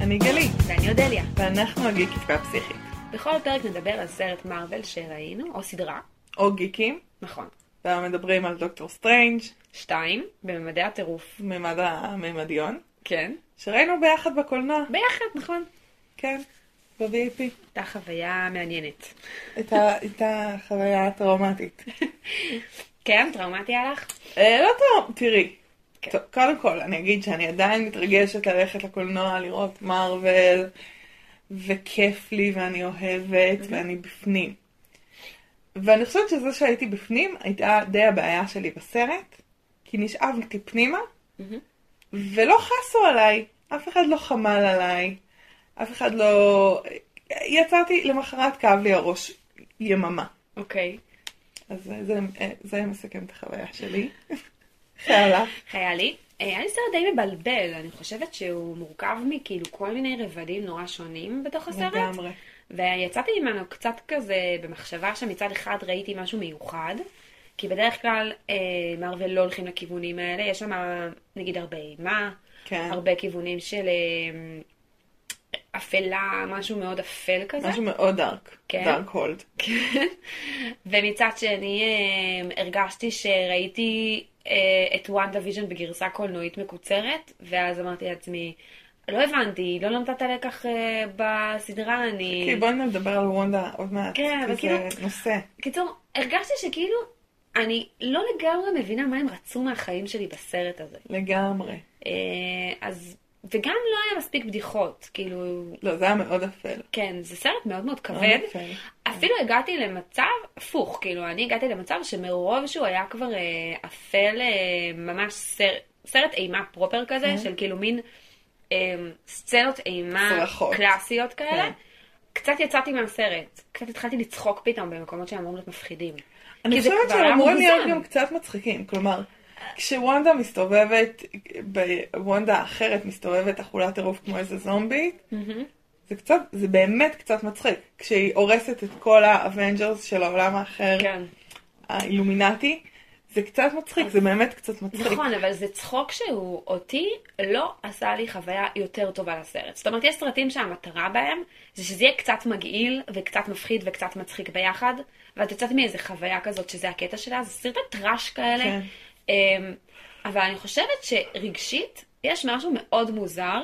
אני גלי, ואני אודליה. ואנחנו הגיקית והפסיכית. בכל פרק נדבר על סרט מארוול שראינו, או סדרה, או גיקים, נכון. והיום מדברים על דוקטור סטרנג', שתיים, בממדי הטירוף. ממד הממדיון, כן. שראינו ביחד בקולנוע, ביחד, נכון. כן, ב-VIP, הייתה חוויה מעניינת. את, ה- את החוויה הטראומטית. כן, טראומטי היה לך? אה, לא טראומ... תראי, כן. טוב, קודם כל אני אגיד שאני עדיין מתרגשת ללכת לקולנוע, לראות מארוול, וכיף לי ואני אוהבת ואני בפנים. ואני חושבת שזה שהייתי בפנים הייתה די הבעיה שלי בסרט, כי נשאבתי פנימה, מהמם. ולא חסו עליי, אף אחד לא חמל עליי, אף אחד לא... יצאתי, למחרת כאב לי הראש יממה. אוקיי. אז אה, זה, אה, זה מסכם את החוויה שלי. שאלה. היה לי. אה, היה לי סרט די מבלבל, אני חושבת שהוא מורכב מכאילו כל מיני רבדים נורא שונים בתוך הסרט. לגמרי. ויצאתי ממנו קצת כזה במחשבה שמצד אחד ראיתי משהו מיוחד, כי בדרך כלל אה, מארוול לא הולכים לכיוונים האלה, יש שם נגיד הרבה אימה, כן. הרבה כיוונים של אה, אפלה, משהו מאוד אפל כזה. משהו מאוד דארק. כן. דארק הולד. כן. ומצד שני, אה, הרגשתי שראיתי אה, את וואן דוויז'ן בגרסה קולנועית מקוצרת, ואז אמרתי לעצמי, לא הבנתי, לא למדה את הלקח אה, בסדרה, אני... כי בואי נדבר על וונדה עוד מעט. כן, אבל כי זה כאילו- נושא. קיצור, הרגשתי שכאילו, אני לא לגמרי מבינה מה הם רצו מהחיים שלי בסרט הזה. לגמרי. אה, אז, וגם לא היה מספיק בדיחות, כאילו, לא, זה היה מאוד אפל. כן, זה סרט מאוד מאוד מאוד כבד. אפל. אפילו הגעתי למצב הפוך, כאילו, אני הגעתי למצב שמרוב שהוא היה כבר אה, אפל, אה, ממש סר, סרט אימה פרופר כזה, Mhm. של כאילו מין אה, סצנות אימה צרחות. קלאסיות כאלה. כן. קצת יצאתי מהסרט, קצת התחלתי לצחוק פתאום במקומות שאמורים להיות מפחידים. אני כי זה חושבת כבר שהם היה אמורים להיות מוגזם. גם קצת מצחיקים. כלומר, כשוונדה מסתובבת, בוונדה האחרת מסתובבת אכולת טירוף כמו איזה זומבית, זה קצת, זה באמת קצת מצחיק. כשהיא הורסת את כל האבנג'רס של העולם האחר, כן. האילומינטי, זה קצת מצחיק, זה באמת קצת מצחיק. נכון, אבל זה צחוק שהוא אותי לא עשה לי חוויה יותר טובה לסרט. זאת אומרת, יש סרטים שהמטרה בהם זה שזה יהיה קצת מגעיל וקצת מפחיד וקצת מצחיק ביחד, ואת יוצאת מאיזה חוויה כזאת שזה הקטע שלה, זה סרטי טראש כאלה. כן. אמ, אבל אני חושבת שרגשית יש משהו מאוד מוזר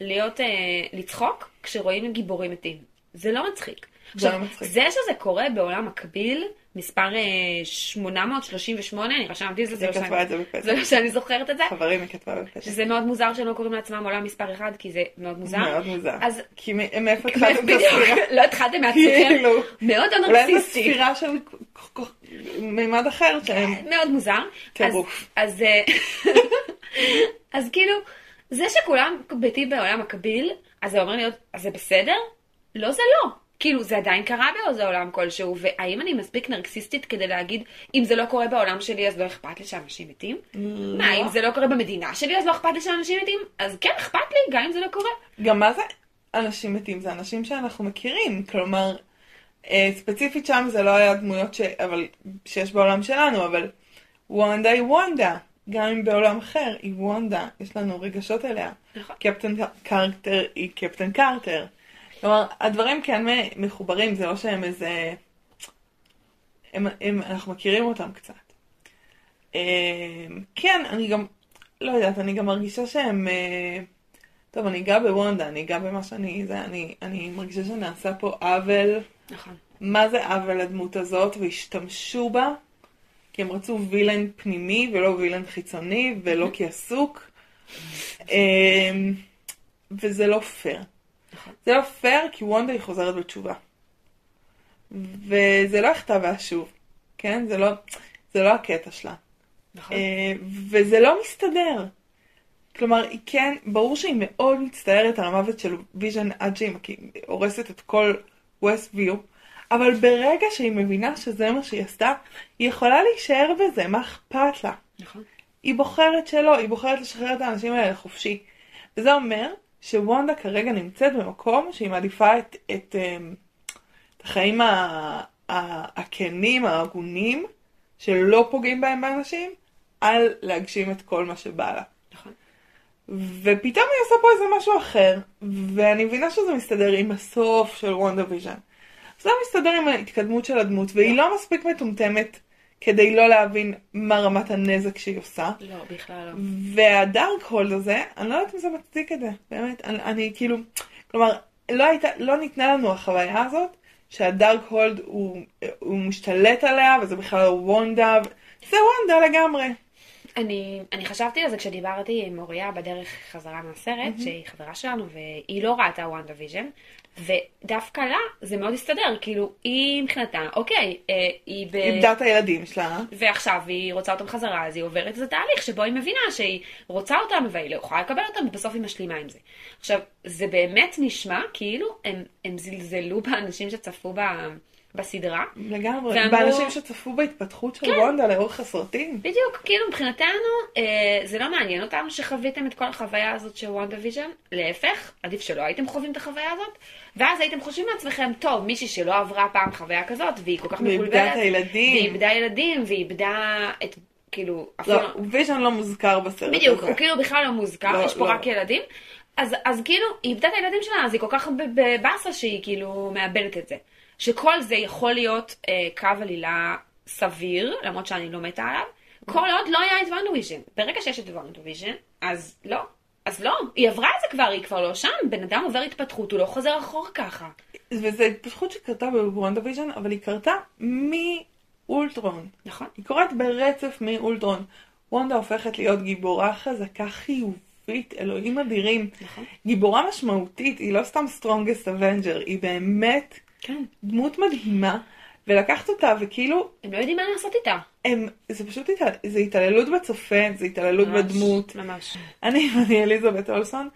להיות, אה, לצחוק כשרואים גיבורים מתים. זה לא מצחיק. זה עכשיו, לא מצחיק. זה שזה קורה בעולם מקביל, מספר אה, 838, אני רשמתי את זה, זה היא לא כתבה שאני- את זה בפתק. זה לא שאני זוכרת את זה. חברים, היא כתבה בפתק. שזה מאוד מוזר שהם לא קוראים לעצמם עולם מספר אחד, כי זה מאוד מוזר. מאוד מוזר. אז כי מ- מאיפה התחלנו את הספירה? בדיוק, לא התחלתם מעצמכם. כאילו, מאוד אולי זו אנרקסיסטי. ספירה של כ- כ- כ- מימד אחר שהם... מאוד מוזר. טירוף. אז, אז, אה, אז כאילו, זה שכולם ביתי בעולם מקביל, אז זה אומר להיות, אז זה בסדר? לא, זה לא. כאילו, זה עדיין קרה באיזה עולם כלשהו, והאם אני מספיק נרקסיסטית כדי להגיד, אם זה לא קורה בעולם שלי, אז לא אכפת לי שאנשים מתים? מה, אם זה לא קורה במדינה שלי, אז לא אכפת לי שאנשים מתים? אז כן, אכפת לי, גם אם זה לא קורה. גם מה זה אנשים מתים? זה אנשים שאנחנו מכירים, כלומר, אה, ספציפית שם זה לא היה דמויות ש... אבל... שיש בעולם שלנו, אבל וונדה היא וונדה, גם אם בעולם אחר היא וונדה, יש לנו רגשות אליה. נכון. קפטן קרטר היא קפטן קרטר. כלומר, הדברים כן מ- מחוברים, זה לא שהם איזה... הם, הם, אנחנו מכירים אותם קצת. אה, כן, אני גם, לא יודעת, אני גם מרגישה שהם... אה, טוב, אני אגע בוונדה, אני אגע במה שאני... זה, אני, אני מרגישה שנעשה פה עוול. נכון. מה זה עוול לדמות הזאת, והשתמשו בה, כי הם רצו וילן פנימי ולא וילן חיצוני, ולא כי עסוק. אמ, וזה לא פייר. נכון. זה לא פייר כי וונדה היא חוזרת בתשובה. וזה לא הכתב והשוב, כן? זה לא, זה לא הקטע שלה. נכון. אה, וזה לא מסתדר. כלומר, היא כן, ברור שהיא מאוד מצטערת על המוות של ויז'ן עד שהיא מק- הורסת את כל ווסט ויו, אבל ברגע שהיא מבינה שזה מה שהיא עשתה, היא יכולה להישאר בזה, מה אכפת לה? נכון. היא בוחרת שלא, היא בוחרת לשחרר את האנשים האלה לחופשי. וזה אומר שוונדה כרגע נמצאת במקום שהיא מעדיפה את, את, אמ, את החיים ה- ה- הכנים, ההגונים, שלא פוגעים בהם באנשים, על להגשים את כל מה שבא לה. נכון. ופתאום היא עושה פה איזה משהו אחר, ואני מבינה שזה מסתדר עם הסוף של וונדה ויז'ן. זה לא מסתדר עם ההתקדמות של הדמות, והיא לא מספיק מטומטמת כדי לא להבין מה רמת הנזק שהיא עושה. לא, בכלל לא. והדארק הולד הזה, אני לא יודעת אם זה מצדיק את זה, באמת, אני, אני כאילו, כלומר, לא, הייתה, לא ניתנה לנו החוויה הזאת, שהדארק הולד הוא, הוא משתלט עליה, וזה בכלל לא וונדה, ו- זה וונדה לגמרי. אה. Mm-hmm. אני, אני חשבתי על זה כשדיברתי עם אוריה בדרך חזרה מהסרט, mm-hmm. שהיא חברה שלנו, והיא לא ראתה וואן דיוויז'ן, ודווקא לה זה מאוד הסתדר, כאילו, היא מבחינתה, אוקיי, אה, היא ב... איבדה את הילדים שלה. ועכשיו היא רוצה אותם חזרה, אז היא עוברת איזה תהליך שבו היא מבינה שהיא רוצה אותם, והיא לא יכולה לקבל אותם, ובסוף היא משלימה עם זה. עכשיו, זה באמת נשמע כאילו הם, הם זלזלו באנשים שצפו ב... בסדרה. לגמרי, ואמרו- כן. באנשים שצפו בהתפתחות של וונדה לאורך הסרטים. בדיוק, כאילו מבחינתנו, אה, זה לא מעניין אותנו שחוויתם את כל החוויה הזאת של וואן דיוויז'ן, להפך, עדיף שלא הייתם חווים את החוויה הזאת, ואז הייתם חושבים לעצמכם, טוב, מישהי שלא עברה פעם חוויה כזאת, והיא כל כך ואיבדה מבולבלת, את הילדים." ואיבדה ילדים, ואיבדה את, כאילו, אפילו, לא, ויז'ן לא מוזכר בסרט הזה. בדיוק, הוא כאילו בכלל לא מוזכר, לא, יש פה לא. רק ילדים, אז, אז כאילו, היא איבדה את הילדים שלה, אז היא כל כך בבאסה שהיא כאילו מאבדת את זה. שכל זה יכול להיות אה, קו עלילה סביר, למרות שאני לא מתה עליו, כל עוד לא היה את וונדוויז'ן. ברגע שיש את וונדוויז'ן, אז לא. אז לא, היא עברה את זה כבר, היא כבר לא שם, בן אדם עובר התפתחות, הוא לא חוזר אחורה ככה. וזו התפתחות שקרתה בוונדה ויז'ן, אבל היא קרתה מאולטרון. נכון? היא קורית ברצף מאולטרון. וונדה הופכת להיות גיבורה חזקה חיובית, אלוהים אדירים. נכון. גיבורה משמעותית, היא לא סתם strongest avenger, היא באמת כן. דמות מדהימה, ולקחת אותה וכאילו, הם לא יודעים מה לעשות איתה. הם, זה פשוט התעל... זה התעללות בצופה, זה התעללות ממש, בדמות. ממש. אני ואני אליזבת אולסון,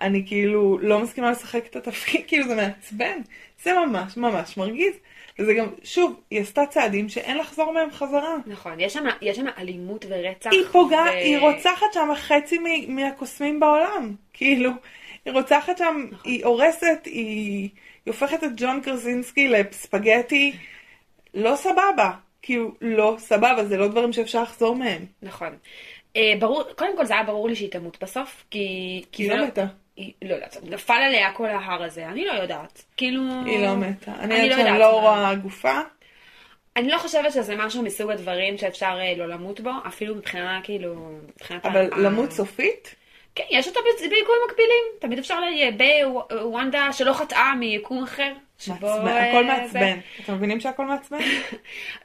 אני כאילו לא מסכימה לשחק את התפקיד, כאילו זה מעצבן, זה ממש ממש מרגיז. וזה גם, שוב, היא עשתה צעדים שאין לחזור מהם חזרה. נכון, יש שם- יש שם אלימות ורצח. היא פוגעת, ו- היא רוצחת שם חצי מ- מהקוסמים בעולם, כאילו. היא רוצחת שם, נכון. היא הורסת, היא, היא הופכת את ג'ון קרזינסקי לספגטי לא סבבה. כאילו, לא סבבה, זה לא דברים שאפשר לחזור מהם. נכון. אה, ברור, קודם כל זה היה ברור לי שהיא תמות בסוף, כי... כי היא זה לא מתה. היא לא יודעת, נפל עליה כל ההר הזה, אני לא יודעת. כאילו... היא לא מתה. אני לא יודעת שאני יודעת לא מה. אה, רואה גופה. אני לא חושבת שזה משהו מסוג הדברים שאפשר אה, לא למות בו, אפילו מבחינה, כאילו... מבחינת אבל ה- ה- למות סופית? כן, יש אותה בצ- ביקויים מקבילים. תמיד אפשר בוונדה שלא חטאה מיקום אחר. שבו, מעצבן, אה, הכל זה- מעצבן. אתם מבינים שהכל מעצבן?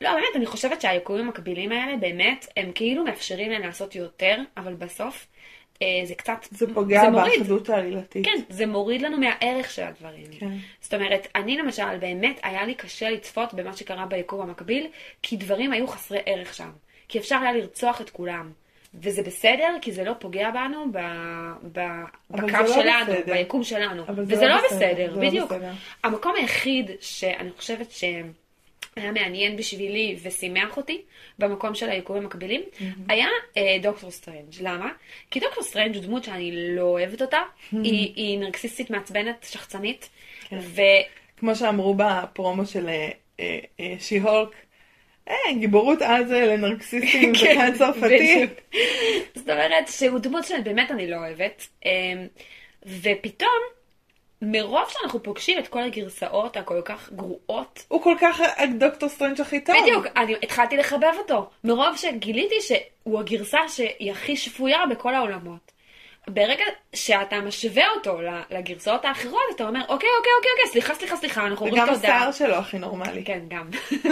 לא, באמת, אני חושבת שהיקומים המקבילים האלה, באמת, הם כאילו מאפשרים להם לעשות יותר, אבל בסוף אה, זה קצת... זה פוגע מוריד. באחדות העלילתית. כן, זה מוריד לנו מהערך של הדברים. כן. זאת אומרת, אני למשל, באמת היה לי קשה לצפות במה שקרה ביקום המקביל, כי דברים היו חסרי ערך שם. כי אפשר היה לרצוח את כולם. וזה בסדר, כי זה לא פוגע בנו ב... ב... אבל בקו זה לא שלנו, בסדר. ביקום שלנו. אבל זה וזה לא לא בסדר, בסדר, זה לא בדיוק. בסדר. המקום היחיד שאני חושבת שהיה מעניין בשבילי ושימח אותי במקום של היקומים המקבילים, היה אה, דוקטור סטרנג'. למה? כי דוקטור סטרנג' הוא דמות שאני לא אוהבת אותה, היא, היא נרקסיסטית מעצבנת, שחצנית, כן. ו- כמו שאמרו בפרומו של אה, שי-הולק, "אה, גיבורות על זה לנרקסיסטים כן, וכאן צרפתי. בדיוק. זאת אומרת שהוא דמות שבאמת אני לא אוהבת, אמ, ופתאום, מרוב שאנחנו פוגשים את כל הגרסאות הכל כך גרועות הוא כל כך הדוקטור סטרנג' הכי טוב. בדיוק, אני התחלתי לחבב אותו. מרוב שגיליתי שהוא הגרסה שהיא הכי שפויה בכל העולמות. ברגע שאתה משווה אותו ל- לגרסאות האחרות, אתה אומר, אוקיי, אוקיי, אוקיי, אוקיי, סליחה, סליחה, סליחה, אנחנו אומרים וגם תודה. השיער שלו הכי נורמלי. כן, גם.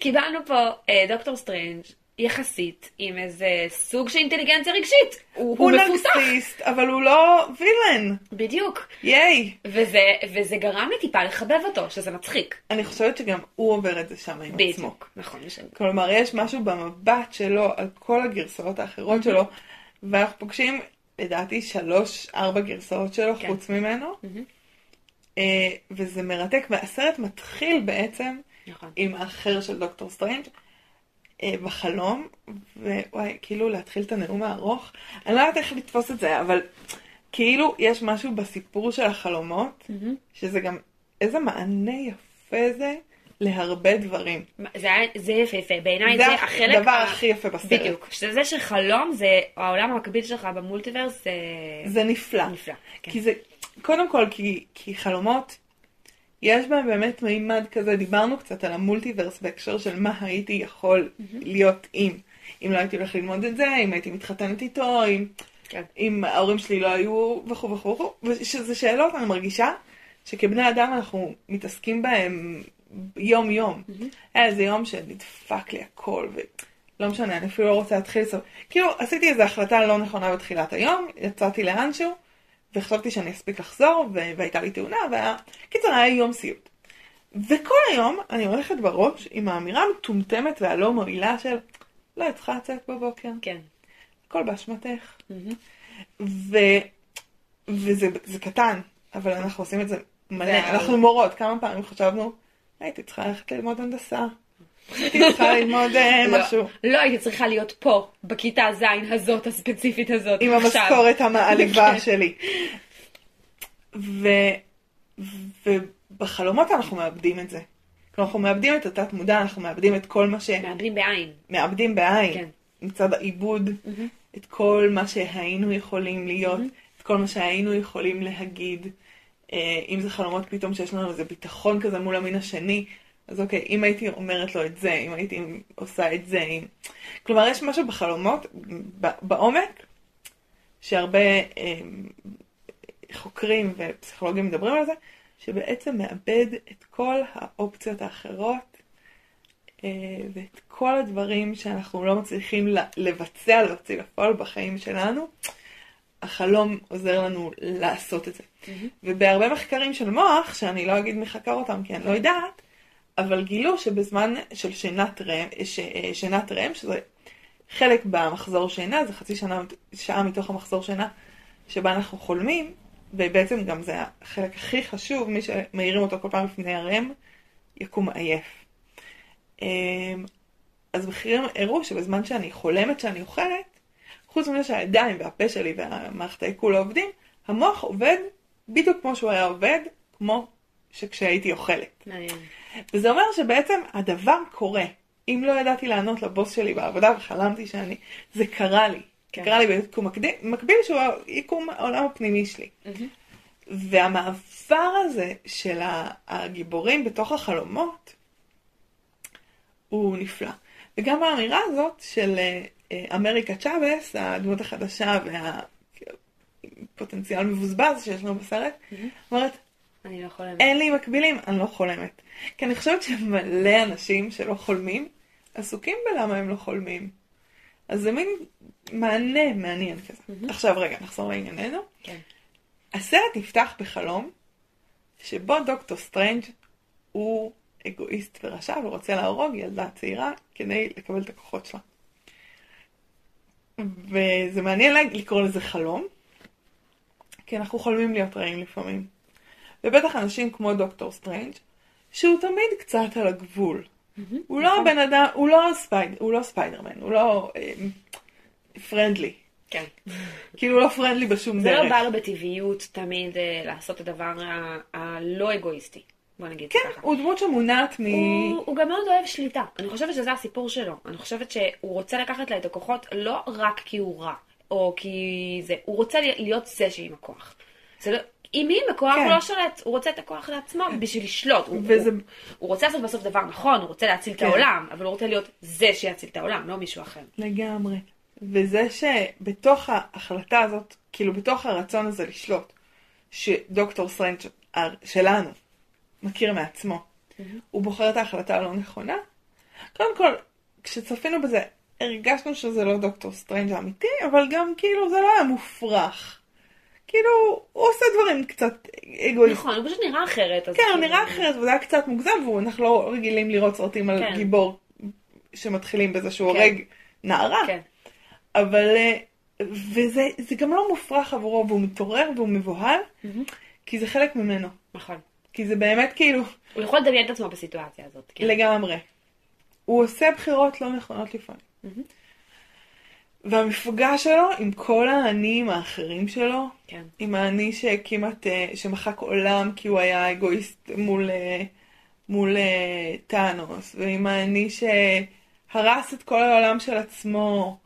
קיבלנו פה אה, דוקטור סטרנג' יחסית עם איזה סוג של אינטליגנציה רגשית. הוא, הוא הוא מפוסח. נרקסיסט, אבל הוא לא וילן. בדיוק. ייי. וזה, וזה גרם לי טיפה לחבב אותו, שזה מצחיק. אני חושבת שגם הוא עובר את זה שם עם עצמו. בדיוק. נכון, יש- כלומר, יש משהו במבט שלו על כל הגרסאות האחרות שלו, ואנחנו פוגשים, לדעתי, שלוש, ארבע גרסאות שלו כן. חוץ ממנו, מהמם. אה, וזה מרתק, והסרט מתחיל בעצם נכון. עם האחר של דוקטור סטרנג' אה, בחלום, ווואי, כאילו להתחיל את הנאום הארוך, אני לא יודעת איך לתפוס את זה, אבל כאילו יש משהו בסיפור של החלומות, מהמם. שזה גם, איזה מענה יפה זה להרבה דברים. זה, היה- זה יפהפה, בעיניי זה זה הח- החלק... הדבר ה- הכי יפה בסרט. בדיוק. שזה שחלום זה העולם המקביל שלך במולטיברס, זה זה נפלא. נפלא. כן. כי זה, קודם כל, כי, כי חלומות, יש בהם באמת מימד כזה, דיברנו קצת על המולטיברס בהקשר של מה הייתי יכול להיות אם. אם לא הייתי הולך ללמוד את זה, אם הייתי מתחתנת איתו, אם, כן. אם ההורים שלי לא היו וכו' וכו' וכו', ושזה שאלות, אני מרגישה שכבני אדם אנחנו מתעסקים בהם יום-יום. היה איזה יום שנדפק לי הכל, ולא משנה, אני אפילו לא רוצה להתחיל לסוף. כאילו, עשיתי איזו החלטה לא נכונה בתחילת היום, יצאתי לאנשהו, וחשבתי שאני אספיק לחזור, ו- והייתה לי תאונה, והיה... קיצור, היה יום סיוט. וכל היום אני הולכת בראש עם האמירה המטומטמת והלא מועילה של, לא, את צריכה לצאת בבוקר, כן. הכל באשמתך. מהמם. Mm-hmm. ו... וזה זה קטן, אבל אנחנו עושים את זה מלא. זה- אנחנו מורות, כמה פעמים חשבנו, הייתי צריכה ללכת ללמוד הנדסה. הייתי צריכה ללמוד אה, לא, משהו. לא הייתי צריכה להיות פה, בכיתה ז' הזאת הספציפית הזאת. עם עכשיו. המשכורת כן. המעליבה שלי. ו... ובחלומות אנחנו מאבדים את זה. כלומר, אנחנו מאבדים את התת מודע, אנחנו מאבדים את כל מה מאבדים בעין. שמאבדים בעין. כן. מצד העיבוד, את כל מה שהיינו יכולים להיות, את כל מה שהיינו יכולים להגיד. אה, אם זה חלומות פתאום שיש לנו איזה ביטחון כזה מול המין השני, אז אוקיי, אם הייתי אומרת לו את זה, אם הייתי עושה את זה, אם... כלומר, יש משהו בחלומות, ב- בעומק, שהרבה אה, חוקרים ופסיכולוגים מדברים על זה, שבעצם מאבד את כל האופציות האחרות אה, ואת כל הדברים שאנחנו לא מצליחים ל- לבצע, להוציא לפועל בחיים שלנו. החלום עוזר לנו לעשות את זה. ובהרבה מחקרים של מוח, שאני לא אגיד מי חקר אותם כי אני לא יודעת, אבל גילו שבזמן של שנת רם, ש, אה, שנת רם, שזה חלק במחזור שינה, זה חצי שנה, שעה מתוך המחזור שינה שבה אנחנו חולמים, ובעצם גם זה החלק הכי חשוב, מי שמעירים אותו כל פעם לפני הרם, יקום עייף. אמ, אז מחקרים הראו שבזמן שאני חולמת שאני אוכלת, חוץ מזה שהידיים והפה שלי והמערכת העיכול לא עובדים, המוח עובד בדיוק כמו שהוא היה עובד, כמו שכשהייתי אוכלת. מעניין. וזה אומר שבעצם הדבר קורה. אם לא ידעתי לענות לבוס שלי בעבודה וחלמתי שאני, זה קרה לי. כן. כן. קרה לי ביקום מקביל, מקביל שהוא יקום העולם הפנימי שלי. מהמם. והמעבר הזה של ה- הגיבורים בתוך החלומות, הוא נפלא. וגם האמירה הזאת של אה, אה, אמריקה צ'אבס, הדמות החדשה והפוטנציאל מבוזבז שיש לנו בסרט, אומרת, אני לא יכולה... אין לי מקבילים, אני לא חולמת. כי אני חושבת שמלא אנשים שלא חולמים, עסוקים בלמה הם לא חולמים. אז זה מין מענה מעניין כזה. עכשיו רגע, נחזור לענייננו. כן. הסרט נפתח בחלום שבו דוקטור סטרנג' הוא אגואיסט ורשע ורוצה להרוג ילדה צעירה כדי לקבל את הכוחות שלה. וזה מעניין לה- לקרוא לזה חלום, כי אנחנו חולמים להיות רעים לפעמים. ובטח אנשים כמו דוקטור סטרנג', שהוא תמיד קצת על הגבול. הוא נכון. לא הבן אדם, הוא לא, ספייד, הוא לא ספיידרמן, הוא לא אמ, פרנדלי. כן. כאילו הוא לא פרנדלי בשום זה דרך. לא בא לו בטבעיות תמיד אה, לעשות את הדבר ה- הלא אגואיסטי. בוא נגיד כן, ככה. הוא דמות שמונעת מ... הוא, הוא גם מאוד אוהב שליטה. אני חושבת שזה הסיפור שלו. אני חושבת שהוא רוצה לקחת לה את הכוחות לא רק כי הוא רע, או כי זה, הוא רוצה להיות זה שעם הכוח. זה לא, אם היא עם הכוח, כן. הוא לא שולט, הוא רוצה את הכוח לעצמו בשביל לשלוט. הוא, וזה- הוא, הוא רוצה לעשות בסוף דבר נכון, הוא רוצה להציל כן. את העולם, אבל הוא רוצה להיות זה שיציל את העולם, לא מישהו אחר. לגמרי. וזה שבתוך ההחלטה הזאת, כאילו בתוך הרצון הזה לשלוט, שדוקטור סטרנג' שלנו מכיר מעצמו, הוא בוחר את ההחלטה הלא נכונה, קודם כל, כשצפינו בזה, הרגשנו שזה לא דוקטור סטרנג' האמיתי, אבל גם כאילו זה לא היה מופרך. כאילו, הוא עושה דברים קצת אגואיסטיים. נכון, הוא פשוט נראה אחרת. אז כן, הוא כאילו- נראה אחרת, וזה היה קצת מוגזם, ואנחנו לא רגילים לראות סרטים על כן. גיבור שמתחילים בזה שהוא כן. הורג נערה, כן, אבל... אה, וזה זה גם לא מופרך עבורו, והוא מתעורר והוא מבוהל, כי זה חלק ממנו. נכון. כי זה באמת כאילו, הוא יכול לדמיין את עצמו בסיטואציה הזאת. כן. לגמרי. הוא עושה בחירות לא נכונות לפעמים. והמפגש שלו עם כל האנים האחרים שלו, כן. עם האני שכמעט, אה, שמחק עולם כי הוא היה אגואיסט מול אה, מול אה, טאנוס, ועם האני שהרס את כל העולם של עצמו,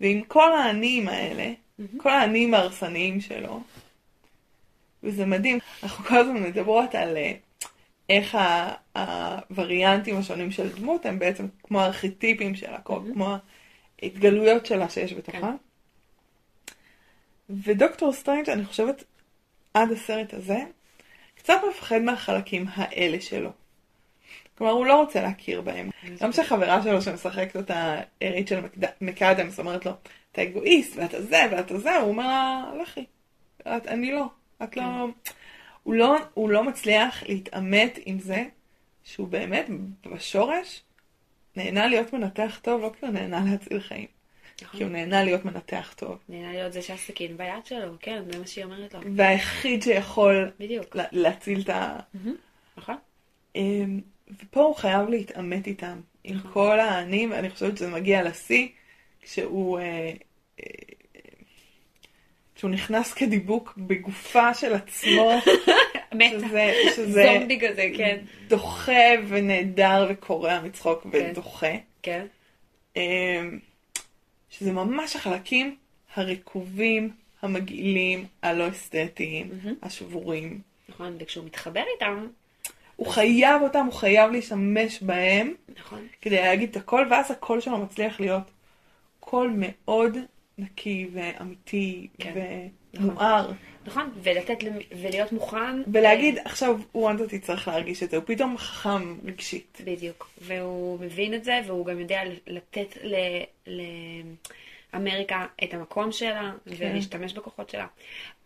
ועם כל האנים האלה, כל האנים ההרסניים שלו. וזה מדהים, אנחנו כל הזמן מדברות על אה, איך ה- הווריאנטים השונים של דמות הם בעצם כמו הארכיטיפים שלה, mm-hmm. כמו ההתגלויות שלה שיש בתוכה. כן. ודוקטור סטרנג', אני חושבת, עד הסרט הזה, קצת מפחד מהחלקים האלה שלו. כלומר, הוא לא רוצה להכיר בהם. גם שחברה שלו שמשחקת אותה, אה, רייצ'ל מקד- מקאדמס, אומרת לו, אתה אגואיסט, ואתה זה, ואתה זה, הוא אומר לה, לכי. את, אני לא. את לא... הוא לא... הוא לא מצליח להתעמת עם זה שהוא באמת, בשורש, נהנה להיות מנתח טוב, לא כי הוא נהנה להציל חיים. נכון. כן. כי הוא נהנה להיות מנתח טוב. נהנה להיות זה שהסכין ביד שלו, כן, זה מה שהיא אומרת לו. והיחיד שיכול בדיוק. לה- להציל את ה... נכון? אמ, ופה הוא חייב להתעמת איתם, עם כל האנים, אני חושבת שזה מגיע לשיא, כשהוא, אה, אה, כשהוא נכנס כדיבוק בגופה של עצמו, מתה. שזה, שזה זומבי כזה, כן. דוחה ונהדר וקורע מצחוק כן. ודוחה, כן. אמ, שזה ממש החלקים הרקובים, המגעילים, הלא אסתטיים, השבורים. נכון, וכשהוא מתחבר איתם, הוא חייב אותם, הוא חייב להשתמש בהם. נכון. כדי להגיד את הכל, ואז הקול שלו מצליח להיות קול מאוד נקי ואמיתי כן, ומואר. נכון, ולתת, למ- ולהיות מוכן. ולהגיד, עכשיו הוא אנטוטי צריך להרגיש את זה, הוא פתאום חכם רגשית. בדיוק. והוא מבין את זה, והוא גם יודע לתת ל- לאמריקה את המקום שלה, ולהשתמש בכוחות שלה.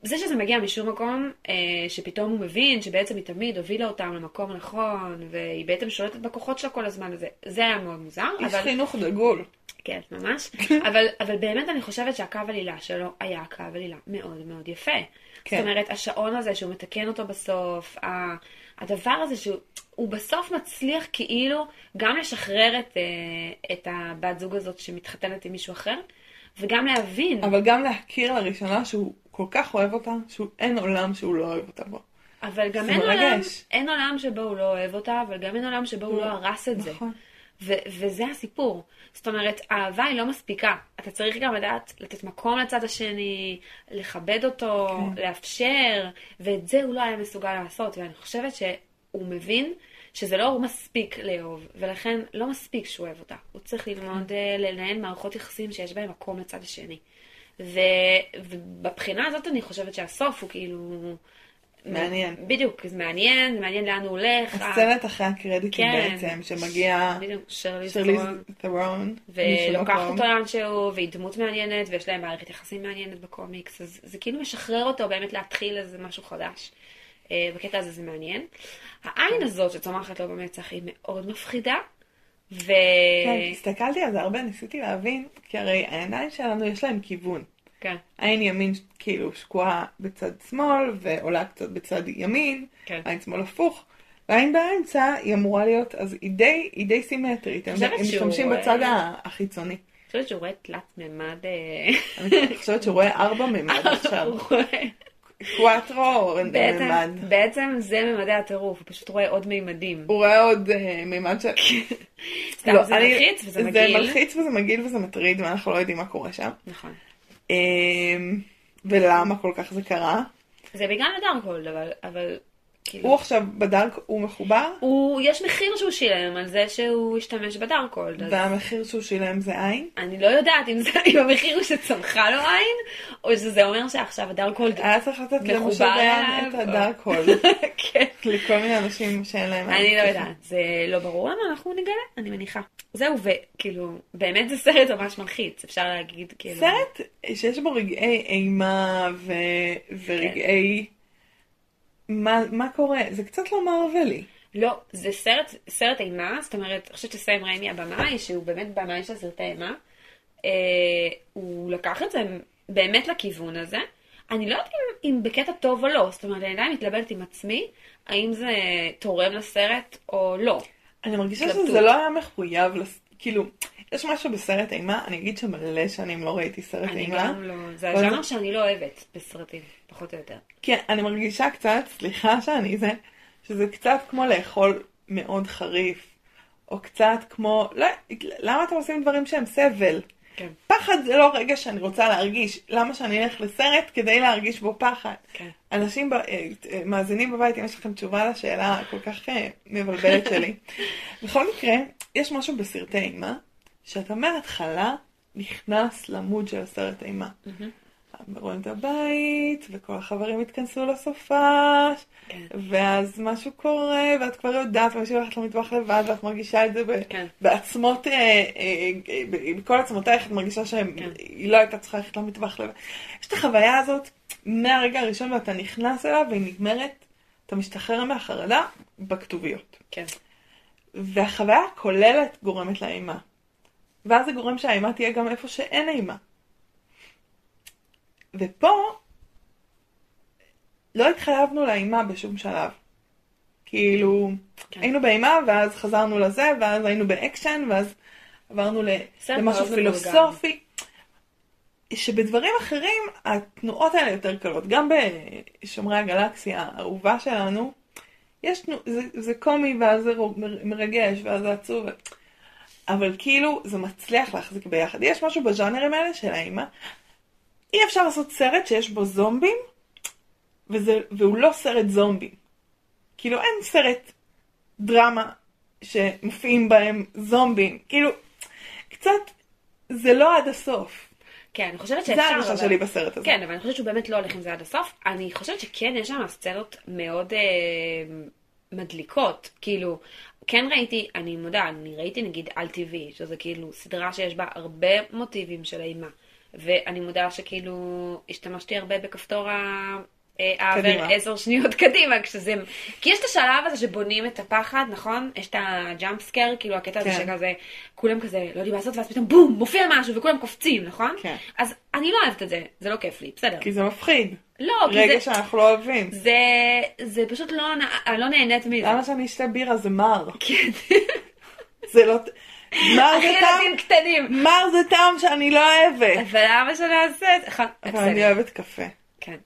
זה שזה מגיע משום מקום, אה, שפתאום הוא מבין שבעצם היא תמיד הובילה אותם למקום הנכון, והיא בעצם שולטת בכוחות שלה כל הזמן הזה. זה היה מאוד מוזר, איש אבל... חינוך דגול. כן, ממש. אבל, אבל באמת אני חושבת שהקו עלילה שלו היה קו עלילה מאוד מאוד יפה. כן. כן. זאת אומרת, השעון הזה שהוא מתקן אותו בסוף, ה- הדבר הזה שהוא הוא בסוף מצליח כאילו גם לשחרר את, אה, את הבת זוג הזאת שמתחתנת עם מישהו אחר, וגם להבין. אבל, אבל גם להכיר לראשונה שהוא כל כך אוהב אותה, שהוא אין עולם שהוא לא אוהב אותה בו. אבל גם זה אין עולם, מרגש. אין עולם שבו הוא לא אוהב אותה, אבל גם אין עולם שבו הוא לא הרס את זה. נכון. ו- וזה הסיפור. זאת אומרת, אהבה היא לא מספיקה. אתה צריך גם לדעת לתת מקום לצד השני, לכבד אותו, כן. כן. לאפשר, ואת זה הוא לא היה מסוגל לעשות. ואני חושבת שהוא מבין שזה לא מספיק לאהוב, ולכן לא מספיק שהוא אוהב אותה. הוא צריך ללמוד אה, לנהל מערכות יחסים שיש בהן מקום לצד השני. ו- ובבחינה הזאת אני חושבת שהסוף הוא כאילו... מעניין. בדיוק, זה מעניין, זה מעניין לאן הוא הולך. הסצנת אחרי הקרדיטים כן. לא בעצם, שמגיעה בדיוק, שרלי שרלי סטרון. ת'רון. משום ולוקחת אה, מקום. אותו לאן שהוא, והיא דמות מעניינת, ויש להם מערכת יחסים מעניינת בקומיקס, אז זה כאילו משחרר אותו באמת להתחיל איזה משהו חדש. אה, בקטע הזה זה מעניין. העין כן. הזאת שצומחת לו במצח היא מאוד מפחידה, ו... כן, הסתכלתי על זה הרבה, ניסיתי להבין, כי הרי העיניים שלנו יש להם כיוון. כן, עין ימין כאילו שקועה בצד שמאל, ועולה קצת בצד ימין, כן. עין שמאל הפוך, והעין באמצע היא אמורה להיות, אז היא די, היא די סימטרית, הם חושבת הם שהוא משתמשים רואה- בצד ה- החיצוני. אני חושבת שהוא רואה תלת מימד... אה, אני חושבת שהוא רואה ארבע ממד עכשיו, הוא רואה- קוואטרו או בעצם- ממד. בעצם זה ממדי הטירוף, הוא פשוט רואה עוד מימדים. הוא רואה עוד אה, ממד של... סתם, לא, זה אני- מלחיץ וזה זה מגעיל. מלחיץ וזה מגעיל וזה מטריד, ואנחנו לא יודעים מה קורה שם. נכון. אמ, ולמה כל כך זה קרה. זה בגלל הדרקולד, אבל... אבל... כאילו- הוא עכשיו בדארק, הוא מחובר, הוא, יש מחיר שהוא שילם על זה שהוא השתמש בדארקולד. אז והמחיר שהוא שילם זה עין. אני לא יודעת אם, זה, אם המחיר הוא שצמחה לו עין, או שזה אומר שעכשיו הדארקולד... היה צריך לתת מחובר למשה דיין אליו, את או- הדארק הול, כן. לכל מיני אנשים שאין להם עין. אני לא יודעת, זה לא ברור למה אנחנו נגלה, אני מניחה. זהו, וכאילו, באמת זה סרט ממש מלחיץ, אפשר להגיד, כאילו... סרט שיש בו רגעי אימה ו... ורגעי... מה, מה קורה? זה קצת לא מרווילי. לא, זה סרט, סרט אימה, זאת אומרת, אני חושבת שסם ריימי הבמאי, שהוא באמת במאי של סרטי אימה, אה, הוא לקח את זה באמת לכיוון הזה. אני לא יודעת אם, אם בקטע טוב או לא, זאת אומרת, אני עדיין מתלבטת עם עצמי, האם זה תורם לסרט או לא. אני מרגישה התלבטות. שזה לא היה מחויב, לס... כאילו, יש משהו בסרט אימה, אני אגיד שמלא שנים לא ראיתי סרט אני אימה. גם לא, זה אבל הז'אנר שאני לא אוהבת בסרטים, פחות או יותר. כן, אני מרגישה קצת, סליחה שאני זה, שזה קצת כמו לאכול מאוד חריף, או קצת כמו, לא, למה אתם עושים דברים שהם סבל? כן. פחד זה לא רגע שאני רוצה להרגיש, למה שאני אלך לסרט כדי להרגיש בו פחד? כן. אנשים ב... אה, אה, מאזינים בבית, אם יש לכם תשובה לשאלה הכל כך אה, מבלבלת שלי. בכל מקרה, יש משהו בסרטי אימה, שאתה מההתחלה נכנס למוד של הסרט אימה. רואים את הבית, וכל החברים התכנסו לסופש, כן. ואז משהו קורה, ואת כבר יודעת, ומישהו הולכת למטבח לבד, ואת מרגישה את זה ב- כן. בעצמות, אה, אה, אה, ב- בכל עצמותייך, את מרגישה כן. שהיא לא הייתה צריכה ללכת למטבח לבד. יש את החוויה הזאת מהרגע הראשון ואתה נכנס אליו, והיא נגמרת, אתה משתחרר מהחרדה בכתוביות. כן. והחוויה הכוללת גורמת לאימה. ואז זה גורם שהאימה תהיה גם איפה שאין אימה. ופה לא התחייבנו לאימה בשום שלב. כאילו, כן. כן. היינו באימה, ואז חזרנו לזה, ואז היינו באקשן, ואז עברנו ל- סרט למשהו מאוד מבולגן. פילוסופי. שבדברים אחרים התנועות האלה יותר קלות. גם בשומרי הגלקסיה האהובה שלנו, יש תנו... זה, זה קומי ואז זה רו- מר- מרגש ואז זה עצוב. אבל כאילו זה מצליח להחזיק ביחד. יש משהו בז'אנרים האלה של האימה. אי אפשר לעשות סרט שיש בו זומבים, וזה, והוא לא סרט זומבים. כאילו אין סרט דרמה שמופיעים בהם זומבים. כאילו, קצת, זה לא עד הסוף. כן, אני חושבת שאפשר... זה ההרגשה אבל- שלי בסרט הזה. כן, אבל אני חושבת שהוא באמת לא הולך עם זה עד הסוף. אני חושבת שכן, יש שם סצנות מאוד אה, מדליקות. כאילו, כן ראיתי, אני מודה, אני ראיתי נגיד על טבעי, שזה כאילו סדרה שיש בה הרבה מוטיבים של אימה. ואני מודה שכאילו השתמשתי הרבה בכפתור ה... אה, העבר קדימה. עשר שניות קדימה, כשזה... כי יש את השלב הזה שבונים את הפחד, נכון? יש את הג'אמפ סקר, כאילו הקטע הזה כן. שכזה, כולם כזה לא יודעים מה לעשות, ואז פתאום בום, מופיע משהו וכולם קופצים, נכון? כן. אז אני לא אוהבת את זה, זה לא כיף לי, בסדר. כי זה מפחיד. לא, כי רגע זה, שאנחנו לא אוהבים. זה, זה פשוט לא, נע- אני לא נהנית מזה. למה שאני אשתה בירה זה מר? כן. זה לא... מר זה אחי ילדים טעם, קטנים. מר זה טעם שאני לא אוהבת. אבל למה שנעשה את זה? אבל אני אוהבת קפה. כן.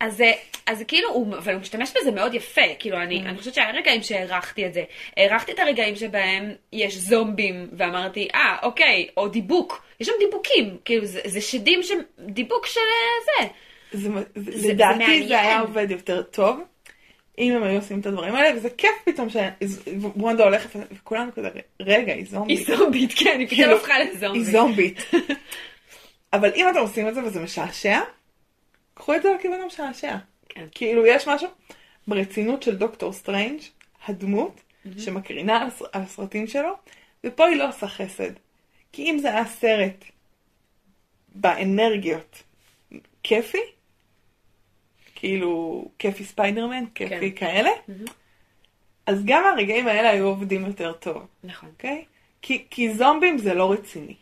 אז, אה, אז כאילו, הוא, אבל הוא משתמש בזה מאוד יפה. כאילו, אני, Mm. אני חושבת שהיה רגעים שהערכתי את זה. הערכתי את הרגעים שבהם יש זומבים, ואמרתי, אה, אוקיי, או דיבוק. יש שם דיבוקים. כאילו, זה, זה שדים ש... דיבוק של אה, זה. זה, זה, זה לדעתי מעניין. זה היה עובד יותר טוב, אם הם היו עושים את הדברים האלה, וזה כיף פתאום שוונדה הולכת, וכולנו כזה, רגע, היא היא זומבית. זומבית, כן, היא פתאום כאילו, הפכה לזומבית. היא זומבית. אבל אם אתם עושים את זה וזה משעשע, קחו את זה לכיוון המשעשע. כן. כאילו, יש משהו ברצינות של דוקטור סטרנג', הדמות, שמקרינה על, הס- על הסרטים שלו, ופה היא לא עושה חסד. כי אם זה היה סרט באנרגיות כיפי, כאילו כיפי ספיידרמן, כיפי כן. כאלה, אז גם הרגעים האלה היו עובדים יותר טוב. נכון. אוקיי? כי, כי זומבים זה לא רציני.